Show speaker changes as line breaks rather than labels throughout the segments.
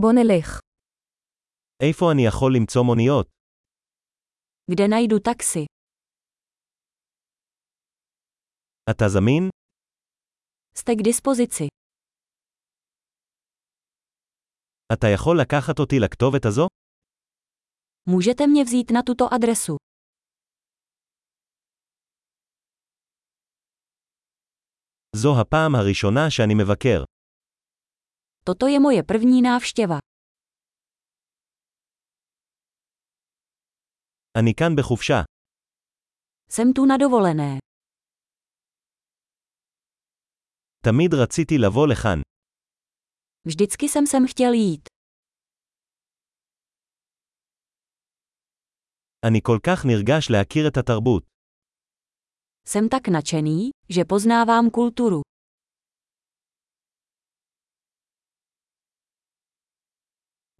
בוא נלך.
איפה אני יכול למצוא מוניות?
Kde najdu taxi?
אתה זמין?
Jste k dispozici.
אתה יכול לקחת אותי לכתובת הזו?
Můžete mě vzít na tuto adresu.
זו הפעם הראשונה שאני מבקר.
Toto je moje první návštěva.
אני כאן בחופשה.
Jsem tu na dovolené.
תמיד רציתי לבוא לכאן.
Vždycky jsem sem chtěl jít.
אני כל כך נרגש להכיר את התרבות.
Jsem tak nadšený, že poznávám kulturu.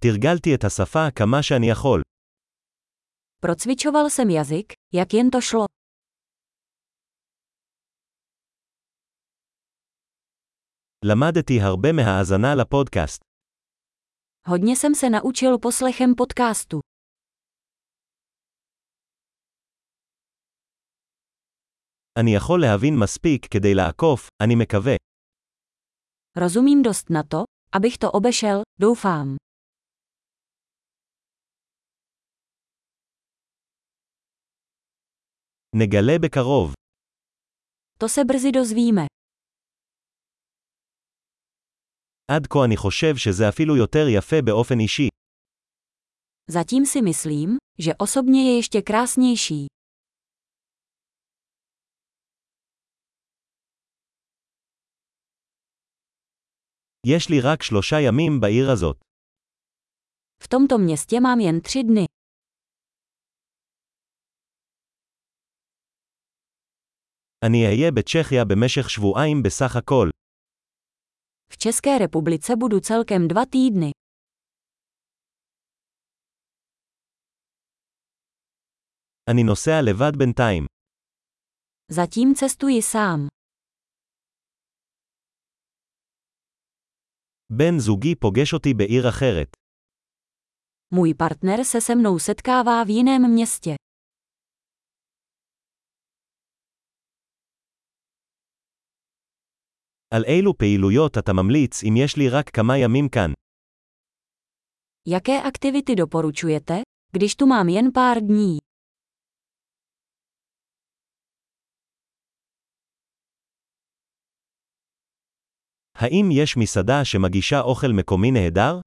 תרגלתי את השפה כמה שאני יכול.
Procvičoval jsem jazyk, jak jen to šlo.
למדתי הרבה מההאזנה לפודקאסט.
Hodně jsem se naučil poslechem podcastu.
אני יכול להבין מספיק כדי לעקוף, אני מקווה.
Rozumím dost na to, abych to obešel, doufám.
נגלה בקרוב.
To se brzy dozvíme.
עד כה אני חושב שזה אפילו יותר יפה באופן אישי.
Zatím si myslím, že osobně je ještě krásnější.
יש לי רק שלושה ימים בעיר הזאת.
V tomto městě mám jen tři dny.
אני אהיה בצ'כיה במשך שבועיים בסך הכל.
V České republice budu celkem dva týdny.
אני נוסע לבד בינתיים.
Zatím cestuji sám.
בן זוגי פוגש אותי בעיר אחרת.
Můj partner se se mnou setkává v jiném městě.
על אילו פעילויות אתה ממליץ אם יש לי רק כמה ימים כאן?
Jaké aktivity doporučujete, když tu mám jen pár dní?
האם יש מסעדה שמגישה אוכל מקומי נהדר?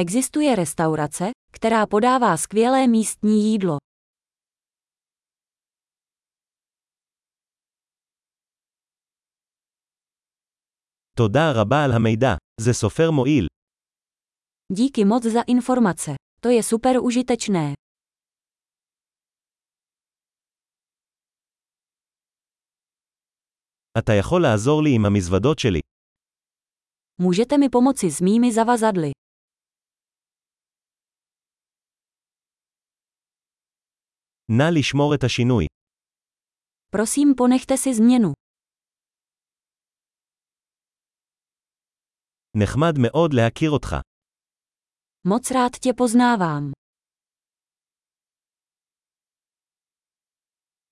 Existuje restaurace, která podává skvělé místní jídlo.
תודה רבה על המידע, זה סופר מועיל.
Díky moc za informace. To je super užitečné.
אתה יכול לעזור לי עם המזוודות שלי.
Můžete mi pomoci s mými zavazadly.
נא לשמור את השינוי.
Prosím, ponechte si změnu.
נחמד מאוד להכיר אותך.
Moc rád tě poznávám.